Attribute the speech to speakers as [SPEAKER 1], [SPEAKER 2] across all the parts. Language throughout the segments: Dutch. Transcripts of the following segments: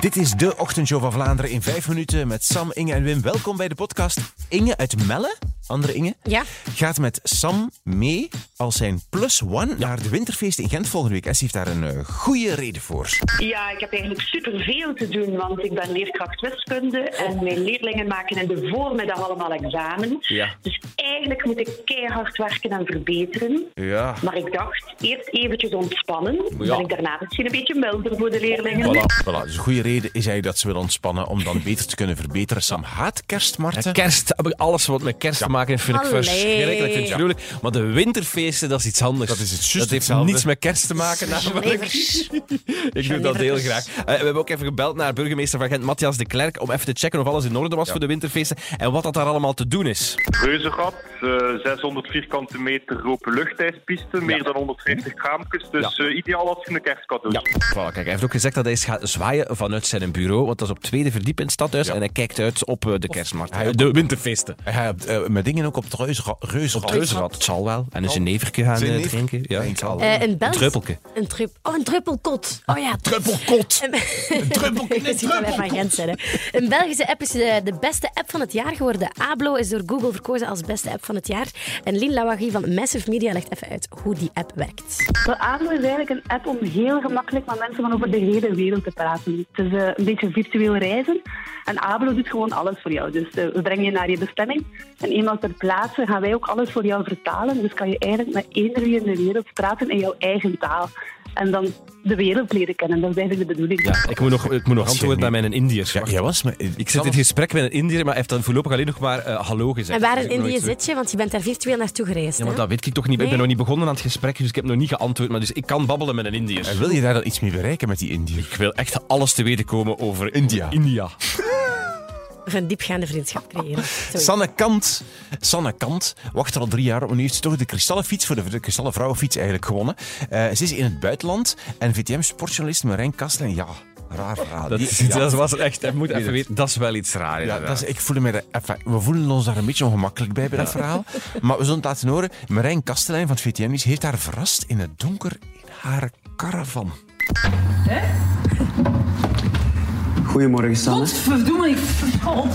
[SPEAKER 1] Dit is de ochtendshow van Vlaanderen in vijf minuten met Sam, Inge en Wim. Welkom bij de podcast. Inge uit Melle, andere Inge,
[SPEAKER 2] Ja,
[SPEAKER 1] gaat met Sam mee als zijn plus one naar de winterfeest in Gent volgende week. En ze heeft daar een eh, goede reden voor.
[SPEAKER 3] Ja, ik heb eigenlijk superveel te doen, want ik ben leerkracht wiskunde en mijn leerlingen maken in de voormiddag allemaal examen.
[SPEAKER 1] Ja.
[SPEAKER 3] Dus eigenlijk moet ik keihard werken en verbeteren.
[SPEAKER 1] Ja.
[SPEAKER 3] Maar ik dacht, eerst eventjes ontspannen,
[SPEAKER 1] Ja.
[SPEAKER 3] ben ik daarna misschien een beetje milder voor de leerlingen.
[SPEAKER 1] Voilà, voilà. Dus een goede reden is eigenlijk dat ze wil ontspannen om dan beter te kunnen verbeteren. Sam haat kerstmarkten.
[SPEAKER 4] Kerst, alles wat met kerst te maken heeft, vind ik
[SPEAKER 2] Allee.
[SPEAKER 4] verschrikkelijk. Vind ik gruwelijk. Maar de winterfeesten, dat is iets anders.
[SPEAKER 1] Dat is het juist
[SPEAKER 4] Dat heeft
[SPEAKER 1] hetzelfde.
[SPEAKER 4] niets met kerst te maken. Namelijk.
[SPEAKER 2] levers.
[SPEAKER 4] Ik doe dat heel graag. Eh, we hebben ook even gebeld naar burgemeester van Gent, Matthias de Klerk, om even te checken of alles in orde was voor de winterfeesten en wat dat daar allemaal te doen is.
[SPEAKER 5] Reuzengat, eh 600 vierkante meter open luchtijspiste, meer dan 150 kraampjes. Dus eh, ideaal als je een kerstcadeau
[SPEAKER 4] Ja, voilà, kijk, hij heeft ook gezegd dat hij is gaat zwaaien vanuit zijn bureau, want dat is op het tweede verdiep in het stadhuis en hij kijkt uit op eh, de kerstmarkt. de winterfeesten.
[SPEAKER 1] Hij gaat eh, met dingen ook op het reusra- reusrad.
[SPEAKER 4] Reuzenrad, het zal wel. En een Geneverke gaan eh,
[SPEAKER 1] Genever-
[SPEAKER 4] drinken. Ja,
[SPEAKER 1] Denk
[SPEAKER 4] het zal.
[SPEAKER 1] al.
[SPEAKER 2] Eh, een bel.
[SPEAKER 4] Een druppelke. Ah,
[SPEAKER 2] Een drup- oh, een druppelkot. Oh ja.
[SPEAKER 1] Druppelkot!
[SPEAKER 2] Een-
[SPEAKER 1] Druppelkot!
[SPEAKER 2] Ik zie dat wij van Gent zijn. hè. Een Belgische app is eh, de beste app van het jaar geworden. Ablo is door Google verkozen als beste app van het jaar. En Lien Lawagie van Massive Media legt even uit hoe die app werkt.
[SPEAKER 6] Wel, ADO is eigenlijk een app om heel gemakkelijk met mensen van over de hele wereld te praten. Het is eh, een beetje virtueel reizen. En ABLO doet gewoon alles voor jou. Dus eh, we brengen je naar je bestemming. En eenmaal ter plaatse gaan wij ook alles voor jou vertalen. Dus kan je eigenlijk met eender wie in de wereld praten in jouw eigen taal. En dan de wereld leren kennen. Dat is eigenlijk de bedoeling.
[SPEAKER 4] Ja, ik moet nog, ik moet nog antwoorden naar mijn Indiërs.
[SPEAKER 1] Ja, jij was eh, me.
[SPEAKER 4] Ik zit in het gesprek met een Indiër, maar hij heeft dan voorlopig alleen nog maar eh, hallo gezegd.
[SPEAKER 2] En waar
[SPEAKER 4] Dus
[SPEAKER 2] in
[SPEAKER 4] ik nog
[SPEAKER 2] Indië
[SPEAKER 4] iets terug-
[SPEAKER 2] zit je? Want je bent daar virtueel naartoe gereisd.
[SPEAKER 4] Ja, maar
[SPEAKER 2] hè?
[SPEAKER 4] dat weet ik toch niet. Ik
[SPEAKER 2] Nee.
[SPEAKER 4] ben nog niet begonnen aan het gesprek, dus ik heb nog niet geantwoord. Maar dus ik kan babbelen met een Indiër.
[SPEAKER 1] En wil je daar dan iets mee bereiken met die Indiër?
[SPEAKER 4] Ik wil echt alles te weten komen over
[SPEAKER 1] India.
[SPEAKER 4] India.
[SPEAKER 2] Of een diepgaande vriendschap creëren. Sorry.
[SPEAKER 1] Sanne Kant. Sanne Kant wacht er al drie jaar op. En nu heeft ze toch de kristallenfiets, voor de, de kristallen vrouwenfiets eigenlijk gewonnen. Eh, ze is in het buitenland. En VTM-sportjournalist Marijn Kastelen, ja, raar raar.
[SPEAKER 4] Dat,
[SPEAKER 1] Die-
[SPEAKER 4] is,
[SPEAKER 1] ja.
[SPEAKER 4] dat was echt. Ik moet even weten. Dat is wel iets raar.
[SPEAKER 1] Ja, dat
[SPEAKER 4] inderdaad.
[SPEAKER 1] is, ik voel me daar, enfin, we voelen ons daar een beetje ongemakkelijk bij, bij dat verhaal. Maar we zullen het laten horen. Marijn Kastelein van het VTM Nieuws heeft haar verrast in het donker in haar caravan.
[SPEAKER 7] Goedemorgen, Sanne.
[SPEAKER 8] Godverdomme, ik val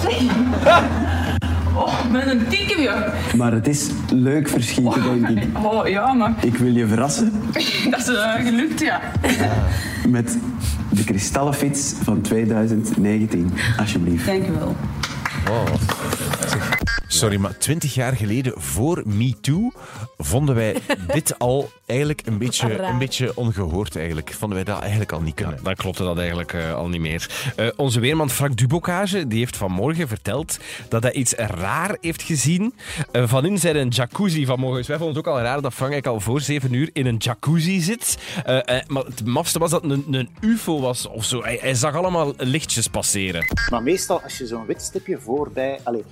[SPEAKER 8] Oh, ik ben een tikkerje.
[SPEAKER 7] Maar het is leuk verschieten, denk ik.
[SPEAKER 8] Oh ja, maar
[SPEAKER 7] Ik wil je verrassen
[SPEAKER 8] dat is eh, gelukt, ja.
[SPEAKER 7] met de kristallenfiets van 2019. Alsjeblieft.
[SPEAKER 8] Dank u wel.
[SPEAKER 1] Sorry, maar twintig jaar geleden voor MeToo vonden wij dit al eigenlijk een beetje,
[SPEAKER 2] Raar.
[SPEAKER 1] een beetje ongehoord. Eigenlijk. Vonden wij dat eigenlijk al niet kunnen.
[SPEAKER 4] Dan klopte dat eigenlijk eh, al niet meer. Eh, onze weerman Frank Dubocage die heeft vanmorgen verteld dat hij iets raar heeft gezien eh, van in zijn jacuzzi vanmorgen. Dus wij vonden het ook al raar dat Frank eigenlijk al voor zeven uur in een jacuzzi zit. Eh, eh, maar het mafste was dat het een, een ufo was of zo. Hij, hij zag allemaal lichtjes passeren.
[SPEAKER 9] Maar meestal als je zo'n wit stipje voorbij, allee,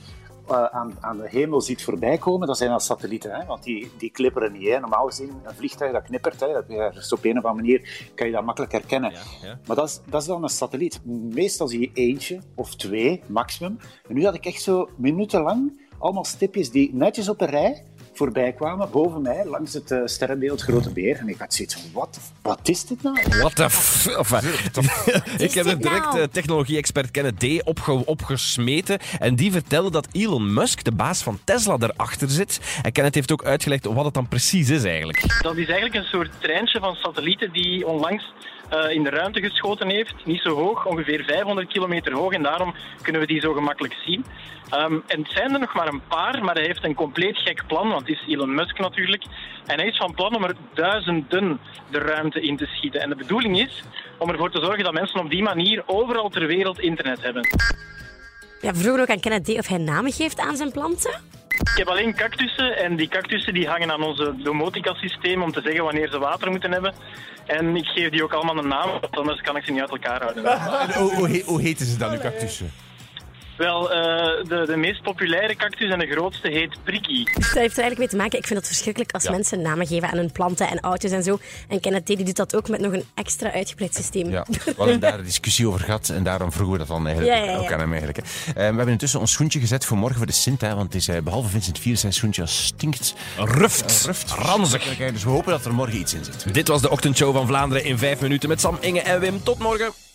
[SPEAKER 9] eh, aan, aan de hemel ziet voorbij komen, dat zijn dat satellieten. Hè? Want die, die knipperen niet. Hè? Normaal gezien, een vliegtuig dat knippert, hè? Dat, ja, dus op een of andere manier kan je dat makkelijk herkennen.
[SPEAKER 4] ja.
[SPEAKER 9] Maar dat is, dat is dan een satelliet. Meestal zie je eentje of twee, maximum. En nu had ik echt zo minutenlang allemaal stipjes die netjes op een rij voorbij kwamen, boven mij, langs het eh, sterrenbeeld Grote Beer. En ik had zoiets wat, wat is dit nou?
[SPEAKER 4] What the f... of, eh, ik
[SPEAKER 2] is
[SPEAKER 4] heb er
[SPEAKER 2] dit
[SPEAKER 4] direct
[SPEAKER 2] nou?
[SPEAKER 4] eh, technologie-expert Kenneth D. Opge opgesmeten. En die vertelde dat Elon Musk, de baas van Tesla, erachter zit. En Kenneth heeft ook uitgelegd wat het dan precies is eigenlijk.
[SPEAKER 10] Dat is eigenlijk een soort treintje van satellieten die onlangs eh, in de ruimte geschoten heeft. Niet zo hoog, ongeveer 500 kilometer hoog. En daarom kunnen we die zo gemakkelijk zien. Ehm, en het zijn er nog maar een paar, maar hij heeft een compleet gek plan. Want het is Elon Musk natuurlijk. En hij is van plan om er duizenden de ruimte in te schieten. En de bedoeling is om ervoor te zorgen dat mensen op die manier overal ter wereld internet hebben.
[SPEAKER 2] Ja, we vroegen ook aan Kenneth D of hij namen geeft aan zijn planten.
[SPEAKER 10] Ik heb alleen cactussen en die cactussen die hangen aan onze domotica-systeem om te zeggen wanneer ze water moeten hebben. En ik geef die ook allemaal een naam, want anders kan ik ze niet uit elkaar houden.
[SPEAKER 1] En hoe, hoe, he- hoe heten ze dan, uw cactussen?
[SPEAKER 10] Wel, eh, de, de meest populaire cactus en de grootste heet Prikkie.
[SPEAKER 2] Dus dat heeft er eigenlijk mee te maken. Ik vind het verschrikkelijk als mensen namen geven aan hun planten en oudjes en zo. En Kenneth D die doet dat ook met nog een extra uitgebreid systeem.
[SPEAKER 1] Ja, we hadden daar een discussie over gehad en daarom vroegen we dat dan eigenlijk
[SPEAKER 2] Ja, ja, ja.
[SPEAKER 1] ook aan hem eigenlijk. hè. Eh, we hebben intussen ons schoentje gezet voor morgen voor de Sint, hè, want het is, eh, behalve Vincent Vier zijn schoentje stinkt.
[SPEAKER 4] Ruft, ranzig.
[SPEAKER 1] Dus we hopen dat er morgen iets in zit.
[SPEAKER 4] Dit was de ochtendshow van Vlaanderen in 5 minuten met Sam, Inge en Wim. Tot morgen.